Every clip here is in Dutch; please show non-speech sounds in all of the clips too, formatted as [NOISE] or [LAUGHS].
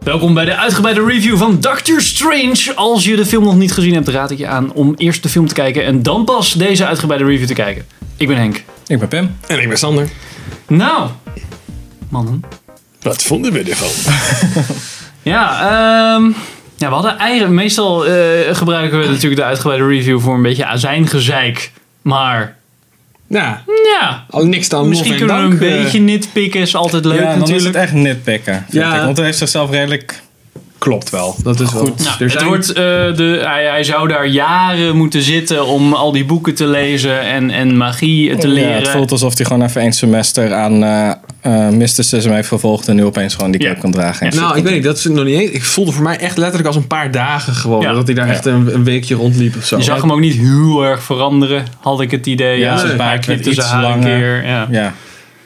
Welkom bij de uitgebreide review van Doctor Strange. Als je de film nog niet gezien hebt, raad ik je aan om eerst de film te kijken en dan pas deze uitgebreide review te kijken. Ik ben Henk. Ik ben Pim. En ik ben Sander. Nou, mannen. Wat vonden we ervan? [LAUGHS] Ja, ehm, ja we hadden eieren. Meestal eh, gebruiken we natuurlijk de uitgebreide review voor een beetje azijngezeik. Maar Nou, ja, al niks dan misschien lof en kunnen we een dank, eh, beetje nitpikken. Is altijd leuk ja, dan is het natuurlijk. echt nitpikken. Vind Ja. ik. Want hij heeft zichzelf redelijk... Klopt wel. Dat is goed. Nou, het wordt, eh, de, hij, hij zou daar jaren moeten zitten om al die boeken te lezen en, en magie te Ja, leren. het voelt alsof hij gewoon even één semester aan eh eh, mysticism heeft gevolgd. En nu opeens gewoon die Ja. cape kan dragen. En Nou, ik weet niet, dat is nog niet eens. Ik voelde voor mij echt letterlijk als een paar dagen gewoon. Ja. Dat hij daar Ja. echt een, een weekje rondliep of zo. je zag hem ook niet heel erg veranderen, had ik het idee. Ja, Ja, nee. een paar Hij werd knipte ze iets haar een langer. keer. Ja. Ja.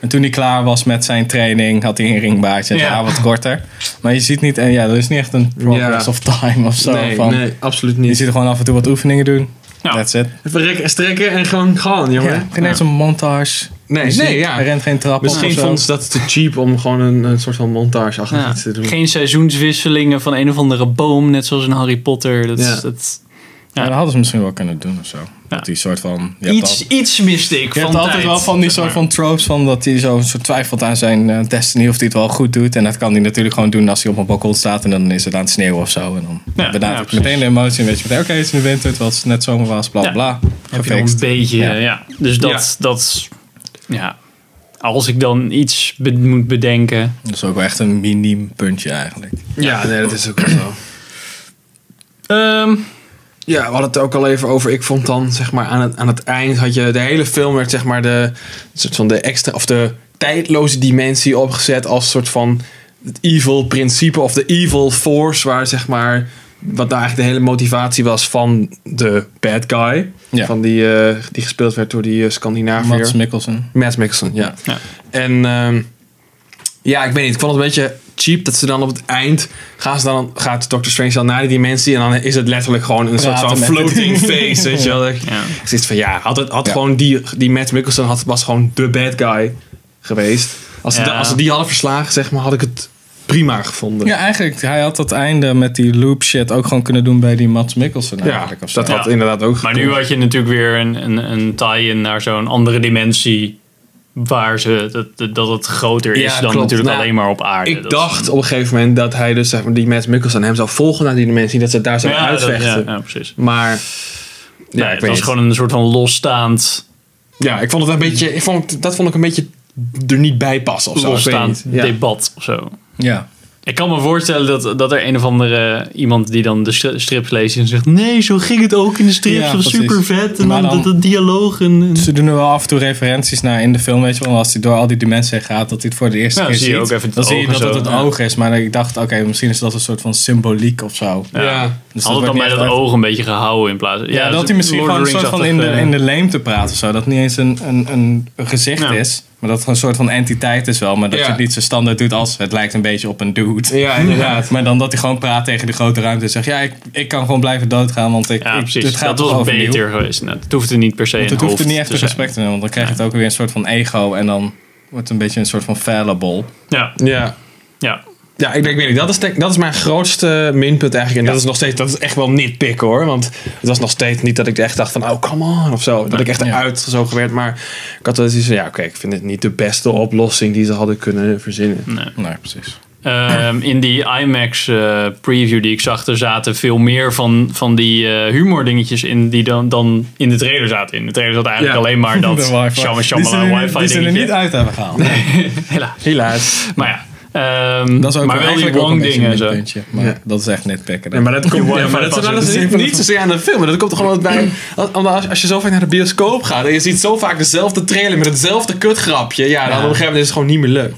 En toen hij klaar was met zijn training, had hij een ringbaardje. En Ja. ja. wat korter. Maar je ziet niet... En ja, er is niet echt een progress Ja. of time of zo. nee, van, nee, absoluut Je niet. ziet er gewoon af en toe wat oefeningen doen. Ja. That's it. Even rekken en strekken en gewoon gaan, jongen. Ja. Geen eens een montage. Nee, Muziek. nee, ja. Hij rent geen trap Misschien op of zo. vond ze dat te cheap om gewoon een, een soort van montageachtig Ja. iets te doen. Geen seizoenswisselingen van een of andere boom, net zoals in Harry Potter. Dat Ja. is, dat, Ja, dat hadden ze misschien wel kunnen doen of zo. Dat die soort van... je hebt iets, iets miste ik van Je hebt altijd tijd, wel van die zeg maar. soort van tropes van dat hij zo, zo twijfelt aan zijn eh, destiny of hij het wel goed doet. En dat kan hij natuurlijk gewoon doen als hij op een balkon staat en dan is het aan het sneeuwen of zo. En dan Ja, ja, benadert hij precies. meteen de emotie en weet je meteen, oké, het is nu winter, terwijl het net zomer was, bla Ja. bla. bla. Heb je nog een Gefixt. beetje, ja. Ja. Dus dat, dat, ja. Als ik dan iets be- moet bedenken. Dat is ook wel echt een miniem puntje eigenlijk. Ja, nee, dat is ook wel zo. Ehm, Ja, we hadden het ook al even over. Ik vond dan, zeg maar, aan het, aan het eind had je de hele film werd, zeg maar, de soort van de extra of de tijdloze dimensie opgezet als soort van het evil principe of de evil force, waar zeg maar wat nou eigenlijk de hele motivatie was van de bad guy, Ja. van die eh, die gespeeld werd door die eh, Scandinaviër. Mats Mikkelsen. Mads Mikkelsen, ja. Ja. En ehm, ja, ik weet niet. Ik vond het een beetje cheap dat ze dan op het eind gaan ze dan, gaat Doctor Strange dan naar die dimensie en dan is het letterlijk gewoon een soort Praten van met- [LAUGHS] floating face, weet je wel. Ik ja. zit van ja, had, het, had Ja. gewoon die, die Mads Mikkelsen had, was gewoon de bad guy geweest. Als, ze, Ja. da- als ze die hadden verslagen, zeg maar, had ik het prima gevonden. Ja, eigenlijk, hij had dat einde met die loop shit ook gewoon kunnen doen bij die Mats Mikkelsen Ja, eigenlijk. of zo. dat had Ja. inderdaad ook Maar gekund. nu had je natuurlijk weer een, een, een tie-in naar zo'n andere dimensie. Waar ze, dat, dat- dat het groter is Ja, dan klopt. natuurlijk Nou, alleen maar op aarde. Ik eh, Dat- dacht op een gegeven moment dat hij dus zeg maar, die Mads Mikkelsen hem zou volgen naar die dimensie, dat ze het daar Ja, zouden dat- uitvechten. ja, ja, precies. Maar ja, Nee, ik het weet was niet. gewoon een soort van losstaand, Ja, ik vond het een beetje. Ik vond, dat vond ik een beetje er niet bij passen of zo. Ik weet losstaand niet. Ja. debat of zo. Ja. Ik kan me voorstellen dat, dat er een of andere iemand die dan de stri- strips leest en zegt: Nee, zo ging het ook in de strips. Ja, dat was precies. super vet. En Maar dan, dat dan- dat dialoog. En, en- Ze doen er wel af en toe referenties naar in de film, weet je wel. Als hij door al die dimensies heen gaat, dat hij het voor de eerste Ja, keer zie je ziet. ook even het dan zie je oog en dat het zo, het ja. oog is. Maar ik dacht, oké, misschien is dat een soort van symboliek of zo. Ja. Ja. Dus Had het dan wordt niet bij echt dat uit- oog een beetje gehouden in plaats Ja, dat dus hij misschien Lord gewoon of een the soort van in Rings-achtig, de, eh, in de leemte praat of zo. Dat het niet eens een, een, een een gezicht Ja. is, maar dat het een soort van entiteit is wel. Maar dat Ja. je het niet zo standaard doet als het lijkt een beetje op een dude. Ja, [LAUGHS] inderdaad. Maar dan dat hij gewoon praat tegen de grote ruimte en zegt: Ja, ik, ik kan gewoon blijven doodgaan, want ik, Ja, ik- precies. dit gaat dat toch was overnieuw. beter geweest. Nou, het hoefde niet per se Want een het hoeft er hoofd niet echt te een zijn. gesprek te nemen, want dan krijg je het ook weer een soort van ego en dan wordt het een beetje een soort van fallible. Ja, ja. ja. Ja, ik, denk- ik weet niet. Dat is, denk- dat is mijn grootste minpunt eigenlijk. En dat is nog steeds, dat is echt wel nitpick hoor. Want het was nog steeds niet dat ik echt dacht van, oh come on of zo. Dat ik echt Ja. eruit gezogen werd. Maar ik had wel eens iets van, ja oké, ik vind het niet de beste oplossing die ze hadden kunnen verzinnen. Nee, Nou, precies. Ehm, in die IMAX eh, preview die ik zag, er zaten veel meer van, van die eh, humor dingetjes in die dan, dan in de trailer zaten. In de trailer zat eigenlijk Ja. alleen [LAUGHS] maar dat De wifi. Shama die ze er- Shama wifi Die ze er niet dingetje. uit hebben gehaald. [LAUGHS] Helaas. Helaas. Maar ja, ehm, Dat is ook maar wel die eigenlijk ook een wrong beetje dingen en een zo. puntje. Maar Ja. dat is echt nitpicken. Ja, maar dat komt ja, maar dat, passen. dat is niet, niet zozeer aan de film. maar Dat komt er gewoon bij. Als, als je zo vaak naar de bioscoop gaat en je ziet zo vaak dezelfde trailer met hetzelfde kutgrapje. Ja, dan op een gegeven moment is het gewoon niet meer leuk.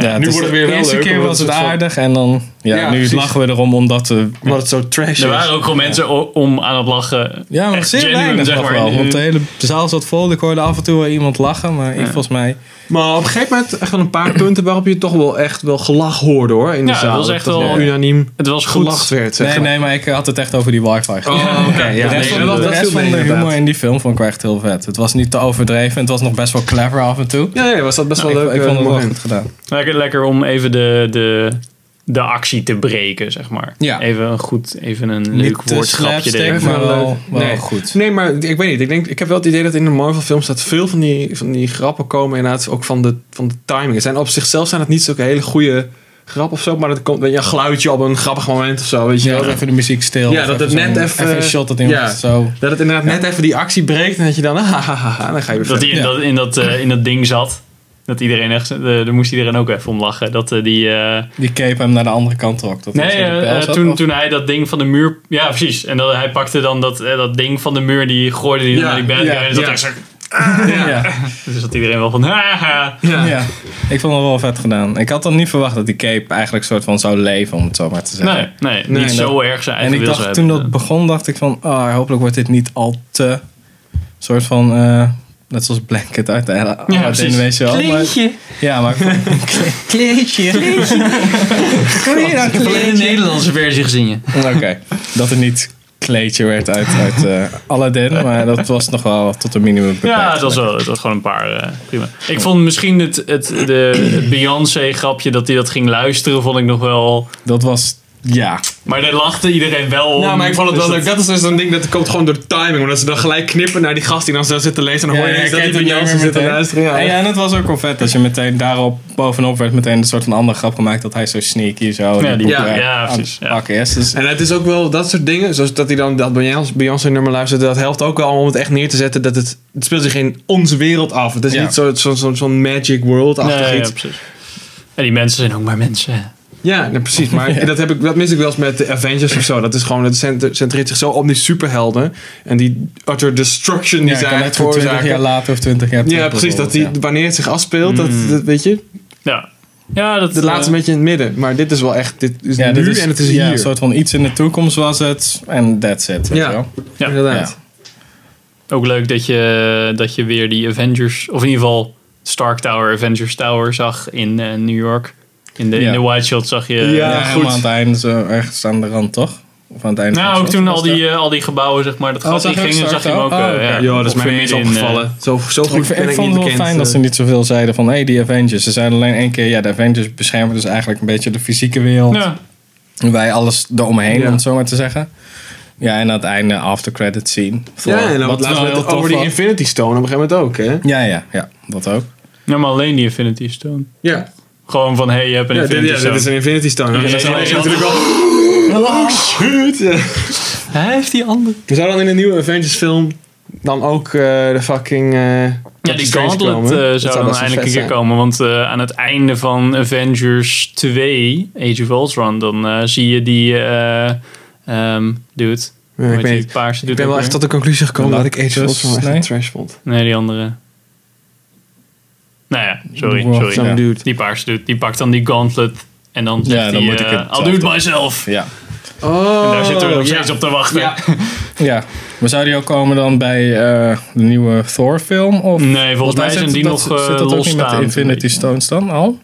Ja, nu is- wordt het weer wel De eerste leuk, keer omdat was het het soort van- aardig en dan... Ja, Ja, nu precies. lachen we erom omdat we... Omdat het zo trash is. Er waren ook gewoon mensen o- om aan het lachen. Ja, maar Echt zeer genuine, weinig zeg nog maar. wel. En, Want de eh, hele zaal zat vol. Ik hoorde af en toe wel iemand lachen. Maar ik volgens mij... Maar op een gegeven moment echt wel een paar punten waarop je toch wel echt wel gelach hoorde hoor. In de Ja, zaal. dat was echt toch wel- unaniem Het was goed. gelacht werd. Zeg Nee, maar. nee, maar ik eh, had het echt over die wifi. Oh, oké. [LAUGHS] ja, de nee, rest van, dat- de, dat rest viel van mee, de inderdaad. humor in die film vond ik wel echt heel vet. Het was niet te overdreven. Het was nog best wel clever af en toe. Ja, nee, was dat best wel Nou, Ik, leuk. ik eh, vond het wel Nou, moment. goed gedaan. Lekker, lekker om even de, de de actie te breken, zeg maar. Ja. Even een goed, even een Niet leuk te woordgrapje slapstick, erin. maar- wel- leuk. wel nee. goed. Nee, maar ik weet niet. Ik, denk, ik heb wel het idee dat in de Marvel films dat veel van die, van die grappen komen inderdaad ook van de, van de timing. Het zijn op zichzelf zijn het niet zulke hele goede grappen of zo, maar dat komt weet je, een geluidje op een grappig moment of zo, weet Dus je Ja, wel. dat even de muziek stil. Ja, of dat het even net zo'n- even- Even een shot dat iemand ja. zo... Dat het inderdaad net even die actie breekt en dat je dan, [LAUGHS] ah, ha, ha, ha, dan ga je weer Dat verder. hij in, Ja. dat, in, dat, eh, in dat ding zat. Dat iedereen echt, eh, daar moest iedereen ook even om lachen. Dat eh, die. eh, Die cape hem naar de andere kant trok. Dat nee, hij zo de eh, pijl eh, zat, toen, of- toen hij dat ding van de muur. Ja, precies. En dat, hij pakte dan dat, eh, dat ding van de muur, die gooide die dan Ja, naar die bad guy. ja, En zat ja. echt zo- [LAUGHS] Ja. Ja. dus dat iedereen wel van. Haha. ik vond het wel vet gedaan. Ik had dan niet verwacht dat die cape eigenlijk soort van zou leven, om het zo maar te zeggen. Nee, nee, Nee, niet zo erg zijn En eigen ik wil zou dacht, toen hebben. dat begon, dacht ik van, ah, hopelijk wordt dit niet al te soort van, eh, net zoals Blanket uit de hele Ja, Aladdin, precies. weet je wel. Maar- ja, [LAUGHS] maar kleertje. Ik heb alleen de Nederlandse versie gezien. je. Oké, dat het niet kleedje werd uit, uit eh, Aladdin, maar dat was nog wel tot een minimum beperkt. Ja, dat was, wel, dat was gewoon een paar. eh, prima. Ik vond misschien het, het, de, [CLEARS THROAT] het Beyoncé-grapje dat hij dat ging luisteren, vond ik nog wel. Dat was, ja. Maar daar lachte iedereen wel om. [LAUGHS] Ja, maar ik vond het Dus wel leuk. dat- Dat is dus een ding dat komt gewoon door de timing. Omdat ze dan gelijk knippen naar die gast die dan zo zit te lezen. En dan hoor je ineens dat die bij Jansen zit te luisteren. Ja. En, ja, en het was ook wel vet dat je meteen daarop bovenop werd meteen een soort van andere grap gemaakt dat hij zo sneaky zo Ja, die- boeken ja, aan- ja, aan precies, het ja. pakken is. Dus En het is ook wel dat soort dingen. Zoals dat hij dan dat Beyoncé- Beyoncé nummer luistert. Dat helpt ook wel om het echt neer te zetten. Dat het, het speelt zich in onze wereld af. Het is Ja. niet zo'n zo, zo, zo'n magic world-achtig Nee, iets. ja, precies. En die mensen zijn ook maar mensen. Ja, nee, precies. [LAUGHS] Maar dat, heb ik, dat mis ik wel eens met de Avengers of zo. Dat is gewoon, het cent- centreert zich zo op die superhelden. En die utter destruction die ja, zij ik kan net eigenlijk voor 20 jaar veroorzaken. later of 20 jaar Ja, terug precies. Dat die, bijvoorbeeld, Mm. wanneer het zich afspeelt, dat, dat weet je, Ja, ja dat Het laatste eh, beetje in het midden. Maar dit is wel echt. Dit is ja. Ja, nu dit is, en het is ja, hier. een soort van iets in de toekomst was het en that's it. weet Ja. je wel. Ja. inderdaad. Ook leuk dat je, dat je weer die Avengers, of in ieder geval Stark Tower, Avengers Tower zag in eh, New York. In de, Ja. in de wide shot zag je. eh, Ja, Ja, goed. helemaal aan het einde, zo ergens aan de rand toch? Of aan het einde Nou, van ook het toen slot, al was [LAUGHS] die, eh, al die gebouwen, zeg maar, dat Oh, gat zag die je ook gingen, Stark zag je hem ook. Tower? eh, Oh, ja. oké. Ja, dat is Of mij niet midden in, opgevallen. eh, zo, zo dat. Ik, goed vind- ben ik ik vond het wel niet bekend. eh. fijn dat ze niet zoveel zeiden van, hé, hey, die Avengers. Ze zeiden alleen één keer, ja, de Avengers beschermen dus eigenlijk een beetje de fysieke wereld. ja. En wij alles eromheen, Ja. om het zo maar te zeggen. Ja, en aan het einde after credit scene. Thor, Ja, en dan wat laten we wel heel het tof over die was. Infinity Stone op een gegeven moment ook, hè? Ja, ja, ja, dat ook. ja, maar alleen die Infinity Stone. Ja. Gewoon van, hey, je hebt een Ja, dit, Infinity ja, dit Stone. is een Infinity Stone. Ja, dat ja, is ja. [LAUGHS] natuurlijk wel goed. Ja. Hij heeft die andere. We zouden dan in een nieuwe Avengers film dan ook eh, de fucking... eh, Ja, Doctor die Strange Gauntlet komen. eh, Dat zou best dan wel eindelijk een vet keer zijn. komen. Want eh, aan het einde van Avengers 2, Age of Ultron, dan eh, zie je die eh ehm dude. Ja, Hoe ik, heet weet die niet. paarse dude ik ben ook wel echt weer? tot de conclusie gekomen dat ik Age of Galactus, Ultron echt nee. een trash vond. Nee, die andere. Nou ja, sorry, Wow. sorry. Zo'n Ja. dude. Die paarse dude, die pakt dan die Gauntlet. En dan zegt dan hij, moet ik eh, het I'll zelf do it doen. myself. Ja. Oh, En daar zitten we nog steeds ja. op te wachten. Ja. ja. Maar zou die ook komen dan bij eh, de nieuwe Thor-film? Of? Nee, volgens mij daar zijn zit die dat- nog eh Zit dat ook niet met de losstaan. Infinity Stones dan al?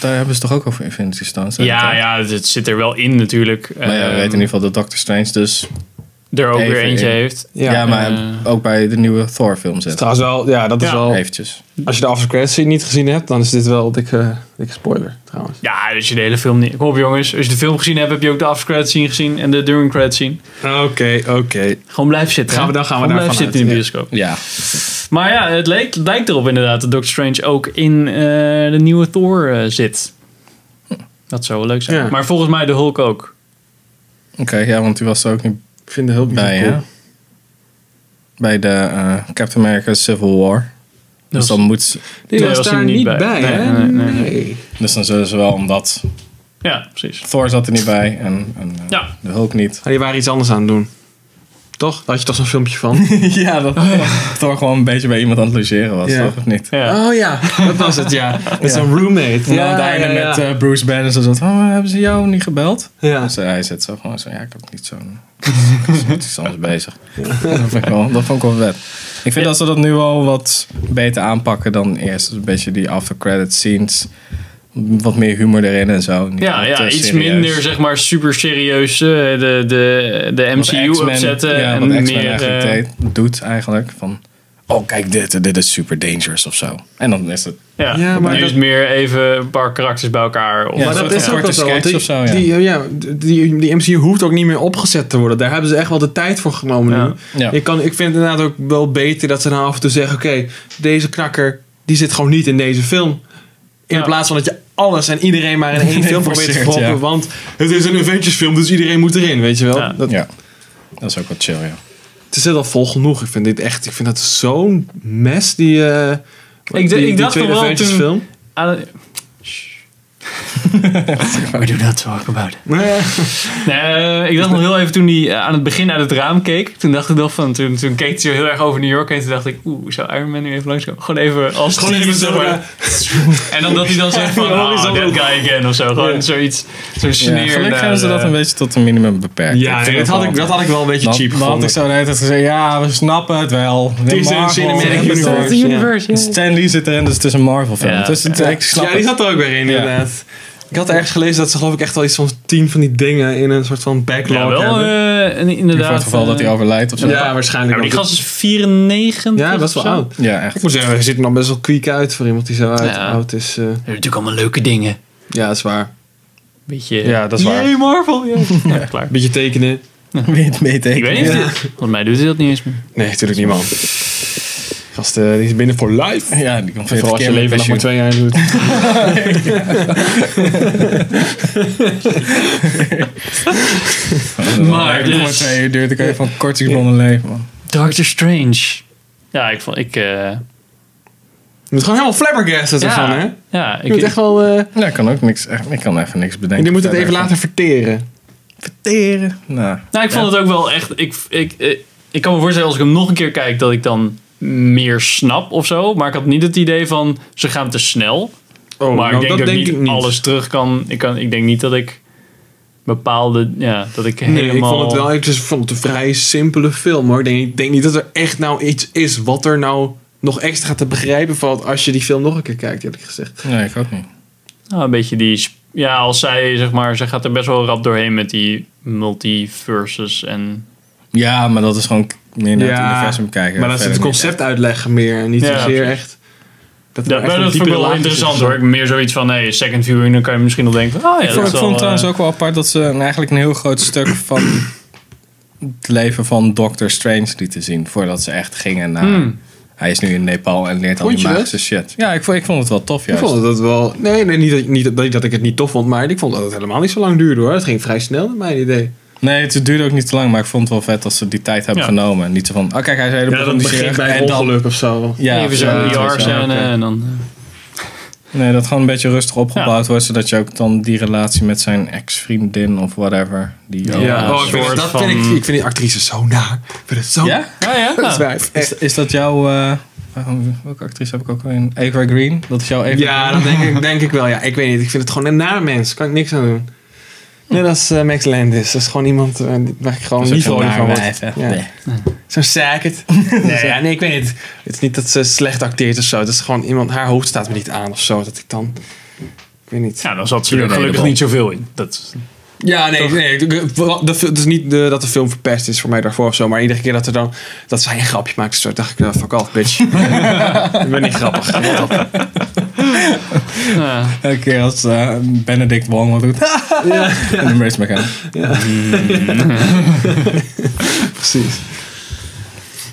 Daar hebben ze toch ook over Infinity Stones? hè? Ja, ja, het zit er wel in natuurlijk. Maar ja, we Ehm, weten in ieder geval dat Doctor Strange dus... er ook weer Even eentje in. heeft. Ja, Ja, maar eh. ook bij de nieuwe Thor-film zit. Trouwens wel, ja, dat is Ja. wel... Eventjes. Als je de after credits scene niet gezien hebt, dan is dit wel een dikke, dikke spoiler trouwens. Ja, als je de hele film niet... Kom op jongens, als je de film gezien hebt, heb je ook de aftercredits scene gezien en de during credits scene. Oké, oké. Gewoon blijf zitten. Gaan hè? we- dan gaan we Gewoon blijf daarvan zitten in de uit, bioscoop. Ja. Maar ja, het leek, lijkt erop inderdaad dat Doctor Strange ook in eh, de nieuwe Thor eh, zit. Dat zou wel leuk zijn. Ja. Maar volgens mij de Hulk ook. Oké, ja, want die was er ook niet Ik vind de hulp niet bij, zo cool. hè? Bij de eh, Captain America Civil War. Dus dan, moet, ze- Die Nee, was, was daar hij niet niet bij, bij. hè? Nee, nee, nee, dus dan zullen ze wel, omdat Ja, precies. Thor zat er niet bij en, en eh, Ja. de Hulk niet. Ah, die waren iets anders aan het doen. Toch? Daar had je toch zo'n filmpje van? [LAUGHS] ja, dat Thor gewoon een beetje bij iemand aan het logeren was, Ja. toch? Of niet? Oh, Ja. Oh [LAUGHS] ja, dat was het, ja. Met zo'n roommate. En dan aan het einde met eh, Bruce Banner zo zat, oh, hebben ze jou niet gebeld? Ja. Dus eh, hij zit zo gewoon zo, ja, ik heb niet zo'n... [LAUGHS] ik was met iets anders bezig. Dat, vind ik wel, dat vond ik wel vet. Ik vind dat ze dat nu al wat beter aanpakken dan eerst. Dus een beetje die after credit scenes. Wat meer humor erin en zo. Niet Ja, al ja te iets eh, serieus. minder zeg maar super serieus eh, de, de, de Wat MCU X-Men- opzetten. Ja, wat en X-Men meer, eigenlijk eh, deed- doet eigenlijk. Van, oh kijk dit, en dit is super dangerous of zo. En dan is het... Ja, Ja, maar maar nu dat- is meer even een paar karakters bij elkaar. Of Ja, Maar een soort dat is van ook wel korte zo. want sketch die, of zo, ja. Die, eh, ja, die, die MCU hoeft ook niet meer opgezet te worden. Daar hebben ze echt wel de tijd voor genomen Ja. nu. Ja. Ik, kan, ik vind het inderdaad ook wel beter dat ze dan af en toe zeggen... oké, deze knakker die zit gewoon niet in deze film. In Ja. plaats van dat je alles en iedereen maar [LAUGHS] in één film probeert te Forceert, proppen. ja. Want het is een Avengers film, dus iedereen moet erin, weet je wel. Ja. Dat, Ja, dat is ook wel chill, ja. Het is al vol genoeg. Ik vind dit echt... Ik vind dat zo'n mes, die... eh, dacht- die- ik die dacht tweede nog wel Avengers toen- film. Ah, shh. We do not talk about it. Nee, eh, ik dacht nog heel even toen hij eh, aan het begin uit het raam keek. Toen dacht ik nog van, toen, toen keek hij zo heel erg over New York heen. Toen dacht ik, oeh, zou Iron Man nu even langskomen? Gewoon even als Gewoon team, even zo, zeg maar. En dan dat hij dan zegt van, Ja, ah, horizon. that guy again of zo. Gewoon Ja. zoiets, zo'n sneer. Ja, gelukkig naar, hebben ze dat eh, een beetje tot een minimum beperkt. Ja, nee, dat, had ik, dat had ik wel een beetje Dan, cheap dan had gevonden. ik zo de hele tijd gezegd, ja, we snappen het wel. Het is een cinematic universe. The universe, ja. Stan Lee zit erin, dus het is een Marvel film. Ja. dus het, ik snap Ja, die het. zat er ook weer in, Ja. inderdaad. Ik had ergens gelezen dat ze geloof ik echt al iets van tien van die dingen in een soort van backlog Ja, wel hebben. eh, een- Voor het inderdaad. geval dat hij eh, overlijdt of zo. ja, ja, waarschijnlijk. maar die ook. gast is 94 ja, best wel of zo. oud. Ja, echt. Ik moet zeggen, hij ziet er nog best wel kwiek uit voor iemand die zo uit, Ja. oud is. eh. We hebben natuurlijk allemaal leuke dingen. ja, dat is waar. Beetje... Ja, dat is waar. Yay, Marvel! [LAUGHS] Ja, Ja, klaar. Beetje tekenen. Wil je het meetekenen? Ik weet niet of Ja. dit... Volgens mij doet hij dat niet eens meer. Nee, natuurlijk niet, man. Gast, eh, die is binnen voor life. Ja, die komt Vooral veertig als je keer met leven nog pensioen. maar twee jaar doet. Maar Als het maar dus- twee uur duurt, dan kan je van kortingsbonnen leven, man. Doctor Strange. Ja, ik vond... Ik, eh, Je moet gewoon helemaal flabbergasted ja, ervan, hè? Je Ja, ik, moet echt wel... eh, Ja, ik kan ook niks, echt- ik kan even niks bedenken. je moet het verder. even laten verteren. verteren. Nou, nou, ik vond het ook wel echt... Ik, ik, ik, ik kan me voorstellen als ik hem nog een keer kijk dat ik dan meer snap of zo. Maar ik had niet het idee van ze gaan te snel. Oh, maar nou, ik denk dat ik niet alles terug kan. Ik, kan. ik denk niet dat ik bepaalde... Ja, dat ik Nee, helemaal... ik vond het wel ik dus vond het een vrij simpele film hoor. Ik denk, ik denk niet dat er echt nou iets is wat er nou nog extra te begrijpen valt als je die film nog een keer kijkt, eerlijk gezegd. nee, ik ook niet. Nou, een beetje die... sp- Ja, als zij, zeg maar... Ze gaat er best wel rap doorheen met die multiverses en... Ja, maar dat is gewoon meer naar het universum kijken. Maar dat is Verder het niet concept uitleggen meer en niet Ja, zozeer precies. echt. Dat er Ja, echt maar een dat vond ik diepere wel laag is. interessant hoor. Ik Meer zoiets van, nee, second viewing, dan kan je misschien nog denken van, ah ja, dat Ik vond, is wel, ik vond eh, trouwens ook wel apart dat ze een- eigenlijk een heel groot stuk van het leven van Doctor Strange lieten zien. Voordat ze echt gingen naar... Hmm. Hij is nu in Nepal en leert al Vond die je dat? magische shit. Ja, ik vond, ik vond het wel tof Ik juist. vond dat wel. Nee, nee niet, dat, niet, dat, niet dat ik het niet tof vond, maar ik vond dat het helemaal niet zo lang duurde hoor. Het ging vrij snel, naar mijn idee. Nee, het duurde ook niet te lang, maar ik vond het wel vet dat ze die tijd hebben Ja. genomen. Niet zo van, oh kijk, hij is helemaal Ja, dat van die begint chirurg Bij en een dan- ongeluk of zo. Ja, even zo'n eh, ja, VR ja, scène oké. en dan... Nee, dat gewoon een beetje rustig opgebouwd wordt, zodat je ook dan die relatie met zijn ex-vriendin of whatever. Die Ja. ook- Ja. oh, ik vind, soort dat vind ik, van- ik vind die actrice zo naar. Ik vind het zo. Ja? Ja, nou. Ah. ja. Dat is waar. Is, is dat jouw. eh, welke actrice heb ik ook in? Ava Green? Dat is jouw Ava Ja, dat denk ik, denk ik wel. Ja, ik weet niet. Ik vind het gewoon een naar mens. Kan ik niks aan doen. Net als eh, Max Landis. Dat is gewoon iemand eh, die- waar ik gewoon niet vrolijk van word. Ja. Zo'n [LAUGHS] sacket. Nee, ja, nee, ik weet niet. Het is niet dat ze slecht acteert of zo. Het is gewoon iemand... Haar hoofd staat me niet aan of zo. Dat ik dan... Ik weet niet. Ja, dan zat ze er Iedereen gelukkig erop. niet zoveel in. Dat, Ja, nee, nee de- de- de- het is niet de, dat de film verpest is voor mij daarvoor of zo. Maar iedere keer dat, er dan, dat zij een grapje maakt, zo, dacht ik, eh, fuck off, bitch. ik ben niet grappig. ja. Elke keer als eh, Benedict Wong wat doet. [LAUGHS] En dan race elkaar. Precies.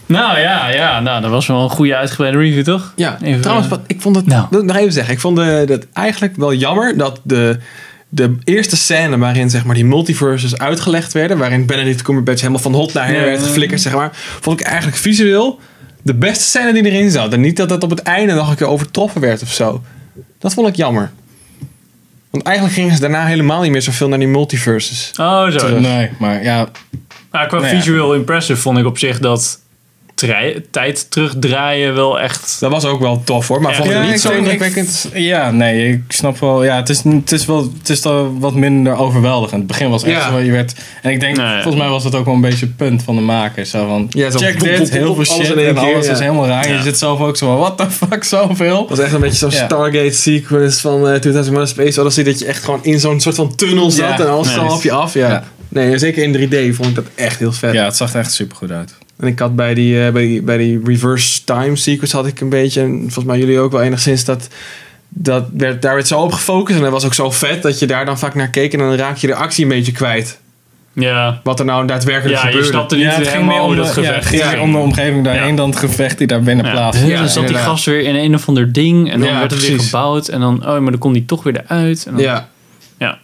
Nou ja, ja, nou, dat was wel een goede uitgebreide review, toch? Ja, Even, trouwens, eh, wat, ik vond het. nou. dat- Nog even zeggen. Ik vond eh, dat eigenlijk wel jammer dat de, de eerste scène waarin zeg maar, die multiverses uitgelegd werden. waarin Benedict Cumberbatch helemaal van hot naar her Ja. werd geflikkerd, zeg maar. vond ik eigenlijk visueel de beste scène die erin zat. En niet dat dat op het einde nog een keer overtroffen werd of zo. Dat vond ik jammer. Want eigenlijk gingen ze daarna helemaal niet meer zoveel naar die multiverses. Oh, zo. Dus, Nee, maar ja. Maar qua Nou ja. visual impressive vond ik op zich dat trei- tijd terugdraaien wel echt... Dat was ook wel tof hoor, maar Ja. vond ik Ja, niet ik zo denk- ik- indrukwekkend. Ja, nee, ik snap wel. Ja, het is, het is, wel, het is dan wat minder overweldigend. Het begin was echt Ja. zo, je werd... En ik denk, Nee, ja. volgens mij was dat ook wel een beetje het punt van de maker. Zo van, Ja, zo check boep, boep, dit, boep, heel veel alles shit in één en keer, alles ja. is helemaal raar. Ja. Je zit zelf ook zo van, what the fuck, zoveel? Dat was echt een beetje zo'n Ja. Stargate sequence van eh 2001 Space Odyssey. Dat je echt gewoon in zo'n soort van tunnel zat Ja. en alles Nee, kwam dat op je af. Ja. Ja. Nee, zeker in 3D vond ik dat echt heel vet. Ja, het zag er echt supergoed uit. En ik had bij die, eh, bij die, bij die reverse time sequence had ik een beetje, en volgens mij jullie ook wel enigszins, dat, dat werd, daar werd zo op gefocust. En dat was ook zo vet dat je daar dan vaak naar keek en dan raak je de actie een beetje kwijt. Ja. Wat er nou daadwerkelijk Ja, je gebeurde. snapte niet Ja, het ging meer helemaal om hoe de, dat ja, het gevecht ging ging. meer om de omgeving daarheen Ja. dan het gevecht die daar binnen Ja, plaatsvindt. dan zat die inderdaad. gast weer in een of ander ding en dan Ja, werd het weer precies. gebouwd en dan, oh, maar dan kon die toch weer eruit. En dan, Ja. ja.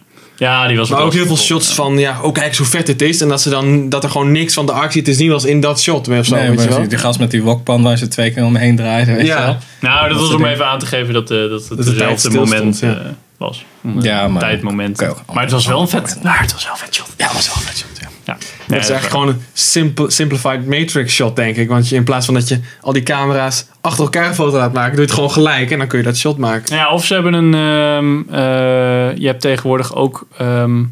Ja, die was Maar wel ook heel veel cool. shots van, ja, oh kijk eens hoe vet dit is. En dat, ze dan, dat er gewoon niks van de actie te zien was in dat shot. Of zo, Nee, weet je maar wel. die gast met die wokpan waar ze twee keer omheen draaiden. Weet Ja. je wel? Nou, dat Dat was soort om dingen. even aan te geven dat, eh, dat het de tijd hetzelfde stilstond, moment ja. eh, was. Ja, maar- Tijdmoment. Oké, ook. Maar het was wel een vet. Maar het was wel een vet shot. Ja, dat was wel vet shot, ja. Ja. Dat is eigenlijk gewoon een simple, simplified matrix shot, denk ik. Want je, in plaats van dat je al die camera's achter elkaar een foto laat maken, doe je het gewoon gelijk en dan kun je dat shot maken. Nou Ja, of ze hebben een. ehm, eh, je hebt tegenwoordig ook ehm,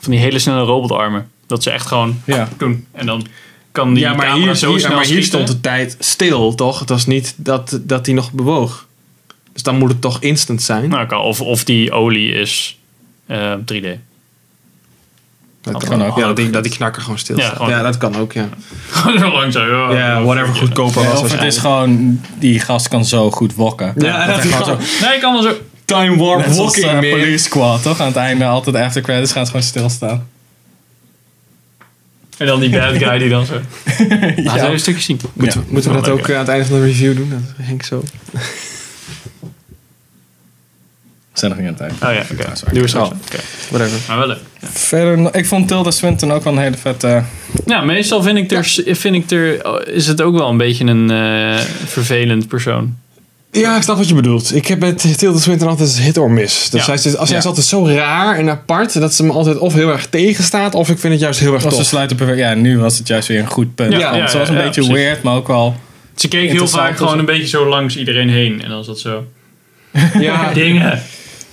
van die hele snelle robotarmen. Dat ze echt gewoon Ja. doen. En dan kan die ja, maar camera hier, zo hier- snel maar hier schieten. stond de tijd stil, toch? Het was niet dat, dat die nog bewoog. Dus dan moet het toch instant zijn. Nou, kan, of, of die olie is eh, 3D. dat kan ook. Ja, dat die, dat die knakker gewoon stil Ja, staat. gewoon- Ja, dat kan ook, ja. Gewoon [LAUGHS] zo lang zo. Ja, Ja, whatever goedkoper was. of het is waarschijnlijk. gewoon, die gast kan zo goed wokken. Ja, dat is gewoon Nee, ik kan wel zo. time warp Net zoals walking, eh, man. Police Squad, toch? Aan het einde altijd de after credits gaan ze gewoon stilstaan. En dan die bad guy die [LAUGHS] dan zo. Laten we een stukje zien. Moeten, we- moeten we dat Oh, ook lekker. eh, aan het einde van de review doen? Dat Henk zo. We zijn nog niet aan het einde. eh, Oh ja, oké. Ja, sorry. Doe we straks. Oh. Oké. Whatever. Maar wel leuk. Verder, no- ik vond Tilda Swinton ook wel een hele vette... eh, Ja, meestal vind ik er, vind ik er oh, is het ook wel een beetje een eh, vervelend persoon. Ja, ik snap wat je bedoelt. Ik heb met Tilda Swinton altijd hit or miss. Dus Ja. zij, is, als zij Ja. is altijd zo raar en apart dat ze me altijd of heel erg tegenstaat of ik vind het juist heel erg Was ze tof. sluiten perfect. Ja, nu was het juist weer een goed punt. Ja, want ja, ze was een ja, beetje precies. weird, maar ook wel... Ze keek heel Interessant vaak is gewoon het. een beetje zo langs iedereen heen. En dan zat zo. [LAUGHS] Ja, Dingen.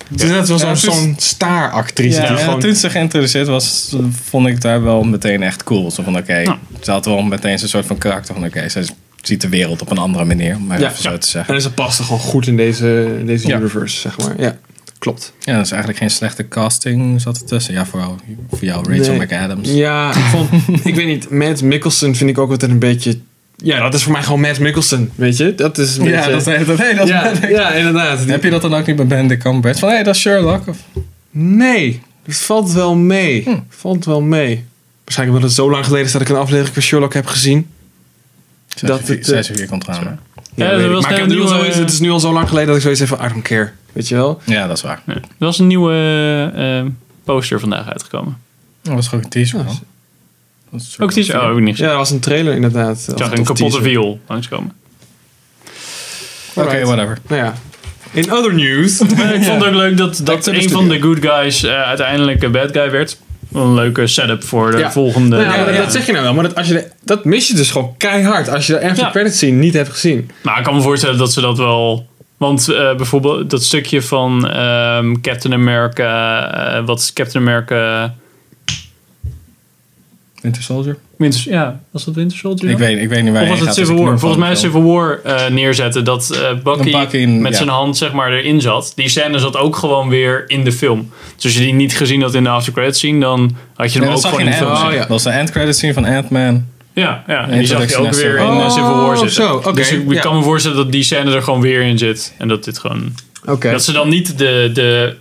het is net zoals Ja, zo'n- het is- zo'n staaractrice. Ja, die ja, gewoon, toen ze geïntroduceerd was, vond ik daar wel meteen echt cool. Zo van, oké, ze had wel meteen zo'n soort van karakter van, oké, ze ziet de wereld op een andere manier, om maar Ja, even zo ja. te zeggen. en ze past er gewoon goed in deze, in deze Ja. universe, zeg maar. Ja, klopt. Ja, dat is eigenlijk geen slechte casting zat er tussen. Ja, vooral voor jou, Rachel Nee. McAdams. Ja, ik vond, ik weet niet, Matt Mickelson vind ik ook altijd een beetje... Ja, dat is voor mij gewoon Matt Mickelson, weet je? Dat is een Ja, beetje... dat, dat, hey, dat is ja, Benedict. ja, inderdaad. Die- Heb je dat dan ook niet bij Benedict Cumberbatch? Van, hé, hey, dat is Sherlock. Of, Nee, dat valt wel mee. Hm. Valt wel mee. Waarschijnlijk omdat het zo lang geleden is dat ik een aflevering van Sherlock heb gezien. dat het, eh, 6 uur komt eraan. hè? Ja, dat weet ik. was maar ik een heb nu al nieuwe- zoiets- het is nu al zo lang geleden dat ik zoiets heb van I don't care. Weet je wel? Ja, dat is waar. Ja, Er was een nieuwe eh, poster vandaag uitgekomen. Dat was gewoon een teaser, Ja, man. dat Dat is een soort Ook die van- Oh, niks. Ja, dat was een trailer inderdaad. Ik zag een kapotte viool langskomen. Oké, whatever. Nou ja. In other [LAUGHS] news. Maar ik vond het ook leuk dat, dat to the een van de good guys eh, uiteindelijk een bad guy werd. Wel Een leuke setup voor de Ja. volgende. Nou ja, maar eh, Dat zeg je nou wel, maar dat, als je de- dat mis je dus gewoon keihard als je de after Ja. credits scene niet hebt gezien. Maar ik kan me voorstellen dat ze dat wel. Want eh, bijvoorbeeld dat stukje van ehm, Captain America. eh, wat is Captain America. Winter Soldier? Winter, ja, was dat Winter Soldier? Ik, weet, ik weet niet waar of was hij het gaat, dus Civil ik War? noem Volgens mij is gewoon Civil War eh, neerzetten dat eh Bucky, Dan Bucky in- met ja. zijn hand zeg maar erin zat. Die scène zat ook gewoon weer in de film. Dus als je die niet gezien had in de after credits scene, dan had je hem Nee, ook dat zag gewoon je in in de Ant- film Ant-Man. zien. oh, ja. Dat was de end credit scene van Ant-Man. Ja, ja. En die zag je ook Introductie weer in naar eh, Civil Civil War. War Oh, zitten. zo, oké, Dus ik, ik ja. kan me voorstellen dat die scène er gewoon weer in zit. En dat dit gewoon... Oké. Dat ze dan niet de, de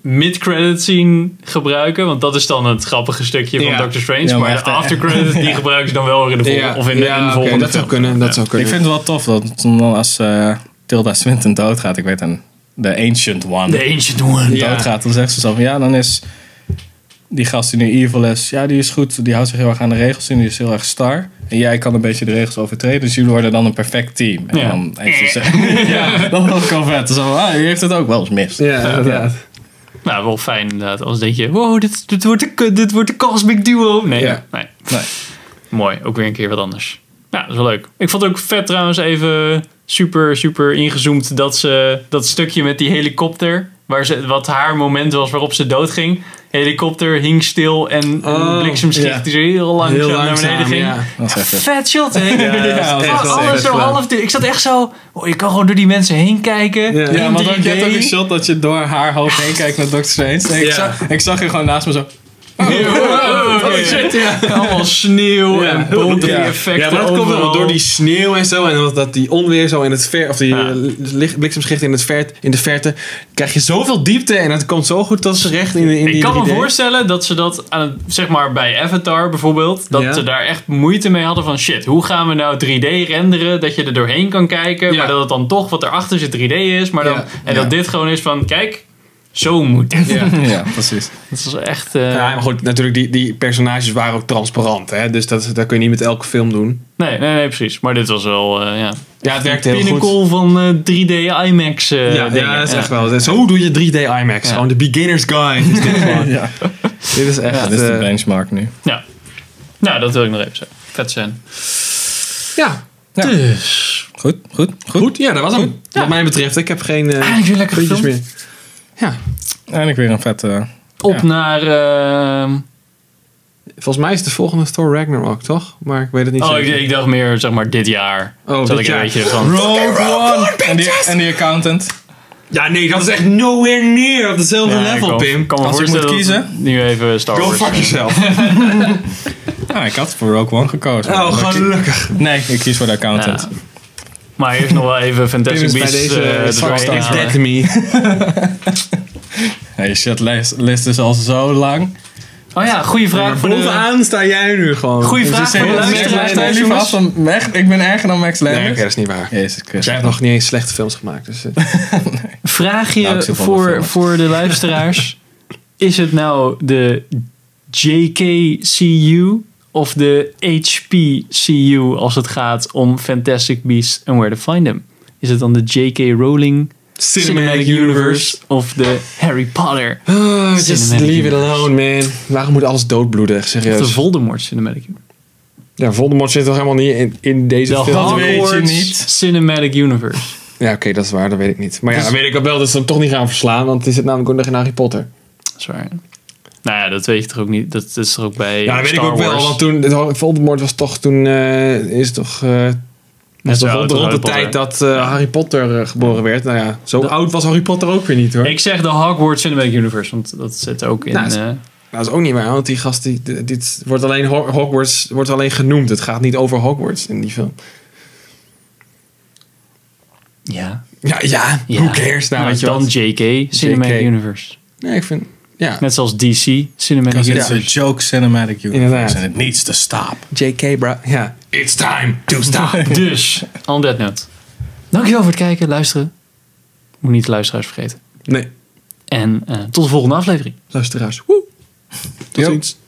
mid-credit scene gebruiken. Want dat is dan het grappige stukje van Ja. Doctor Strange. Ja, maar maar de echt, eh, after-credit, die gebruiken ze dan wel weer in de volgende, Ja, of in de, ja, in de oké, volgende dat zou film. kunnen, dat Ja. zou Ik kunnen. vind het wel tof dat dan als eh, Tilda Swinton doodgaat, ik weet een, de Ancient One The Ancient One. Ja. doodgaat, dan zegt ze zo van ja, dan is die gast die nu evil is, ja, die is goed, die houdt zich heel erg aan de regels en die is heel erg star. En jij kan een beetje de regels overtreden, dus jullie worden dan een perfect team. En Ja. dan heeft ze Eh. ze- [LAUGHS] ja, dat was wel vet. Dus dan, ah, u heeft het ook wel eens mis. Ja, inderdaad. Nou, wel fijn inderdaad. Anders denk je, wow, dit, dit, wordt, de, dit wordt de cosmic duo. Nee, Ja. nee. Nee. Mooi, ook weer een keer wat anders. Ja, dat is wel leuk. Ik vond het ook vet trouwens even super, super ingezoomd dat ze dat stukje met die helikopter, waar ze, wat haar moment was waarop ze doodging. Helikopter hing stil en een Oh, bliksemschicht ja. die zo heel langzaam, Heel naar langzaam, beneden ging. ja. Dat is echt vet. Vet shot, [LAUGHS] hè? dat was Oh, echt wel alles vet zo gedaan. half. Ik zat echt zo. Oh, je kan gewoon door die mensen heen kijken. Ja. In Ja, want die ook, je hebt ook idee. een shot dat je door haar hoofd heen kijkt naar Doctor Strange. Nee, ik, Ja. zag, ik zag je gewoon naast me zo. [LAUGHS] Oh, Oh, shit, ja. [LAUGHS] Allemaal sneeuw Ja. en bonte Ja. effecten Ja, maar dat komt wel overal. door die sneeuw en zo. En dat, dat die onweer zo in het ver... Of die Ja. eh, licht- bliksemschicht in, het ver, in de verte. Krijg je zoveel diepte en het komt zo goed tot ze recht in, de- in die Ik kan me 3D. voorstellen dat ze dat, aan het, zeg maar bij Avatar bijvoorbeeld, dat Ja. ze daar echt moeite mee hadden van shit, hoe gaan we nou 3D renderen, dat je er doorheen kan kijken, Ja. maar dat het dan toch wat erachter zit 3D is, maar dan, Ja. en Ja. dat dit gewoon is van, kijk, zo moet het. Ja. Ja, precies. [LAUGHS] Dat is echt, eh, Ja, maar goed, natuurlijk, die, die personages waren ook transparant. Hè? Dus dat, dat kun je niet met elke film doen. nee, nee, nee, precies, maar dit was wel, eh ja, Ja, het werkt heel goed. pinnacle van eh, 3D IMAX eh, Ja, dingen. ja, dat is echt wel. Zo doe je 3D IMAX. Gewoon de beginner's guide. Is dit, [LAUGHS] gewoon. Ja. dit is echt... Dat is de eh, benchmark nu. Ja. Nou, dat wil ik nog even zeggen. Vet zijn. ja, Ja. Dus, Goed, goed, goed. goed. Ja, dat was hem. Wat mij betreft. Ik heb geen eh, eigenlijk weer Ah, lekker puntjes gefilmd. meer. Ja, Eindelijk weer een vette... Op Ja. naar... ehm, volgens mij is de volgende Thor Ragnarok, toch? Maar ik weet het niet Oh, ik, zeker. ik dacht meer, zeg maar, dit jaar. Oh, Zat dit ik een jaar. beetje van... Rogue One! Oh, En die, en die accountant. Ja, nee, dat is echt nowhere near op dezelfde Ja, ik level, kan- Pim. kan me Als ik moet voorstellen dat kiezen. het Nu even Star Go Wars. fuck [LAUGHS] yourself. Ah, ik had voor Rogue One gekozen. Oh, gelukkig. Nee, ik kies voor de accountant. Ja. Maar eerst nog wel even Fantastic Pim is Beasts. bij deze eh, fuck erbij stuff halen. dead to me. Hey, shit, lijst, list is al zo lang. Oh ja, goede vraag voor de... [LAUGHS] Bovenaan sta jij nu gewoon. Dus Goeie vraag Ze voor de zeggen- luisteraars Nee, nee, thuis, liever af jongens. van Mac- Ik ben erger dan Max Nee, oké, Landers. dat is niet waar. Jezus Christus. Jij hebt nog niet eens slechte films [LAUGHS] gemaakt. Dus, eh. Vraag Nou, je ik zit wel nog voor, voor. voor de [LAUGHS] luisteraars... Is het nou de JKCU of de HPCU als het gaat om Fantastic Beasts and Where to Find Them? Is het dan de J.K. Rowling Cinematic Universe of de Harry Potter? Ah, just Cinematic leave it Universe. alone, man. Waarom moet alles doodbloeden, echt Of de serieus? Voldemort Cinematic Universe? Ja, Voldemort zit toch helemaal niet in, in deze De film? Dat weet je Hogwarts niet. Cinematic Universe. Ja, oké, dat is waar, dat weet ik niet. Maar ja, dan weet ik wel dat ze hem toch niet gaan verslaan, want het zit namelijk ook nog in Harry Potter. Dat is waar. Nou ja, dat weet je toch ook niet. Dat is toch ook bij Ja, dat weet Star ik ook wel, Wars. want toen, het- Voldemort was toch toen, eh, is toch, eh Net was zo toch oud rond, als rond de Harry tijd Potter. dat eh, Harry Potter eh, geboren werd. Nou ja, zo Dat- oud was Harry Potter ook weer niet hoor. Ik zeg de Hogwarts Cinematic Universe, want dat zit ook in... Nou, is- eh, Nou, dat is ook niet waar, want die gast, die, dit- dit wordt alleen Ho- Hogwarts, wordt alleen genoemd. Het gaat niet over Hogwarts in die film. ja. Ja, ja, ja. who cares nou, weet je dan wat? JK Cinematic JK. Universe. Nee, ik vind, ja, Net zoals DC Cinematic Because Universe. it's a joke cinematic universe Inderdaad. and it needs to stop. JK bra, ja. It's time to stop. Dus, on that note. Dankjewel voor het kijken, luisteren. Moet niet de luisteraars vergeten. [LAUGHS] nee, En eh, tot de volgende aflevering. luisteraars, woe. Tot Yo. ziens.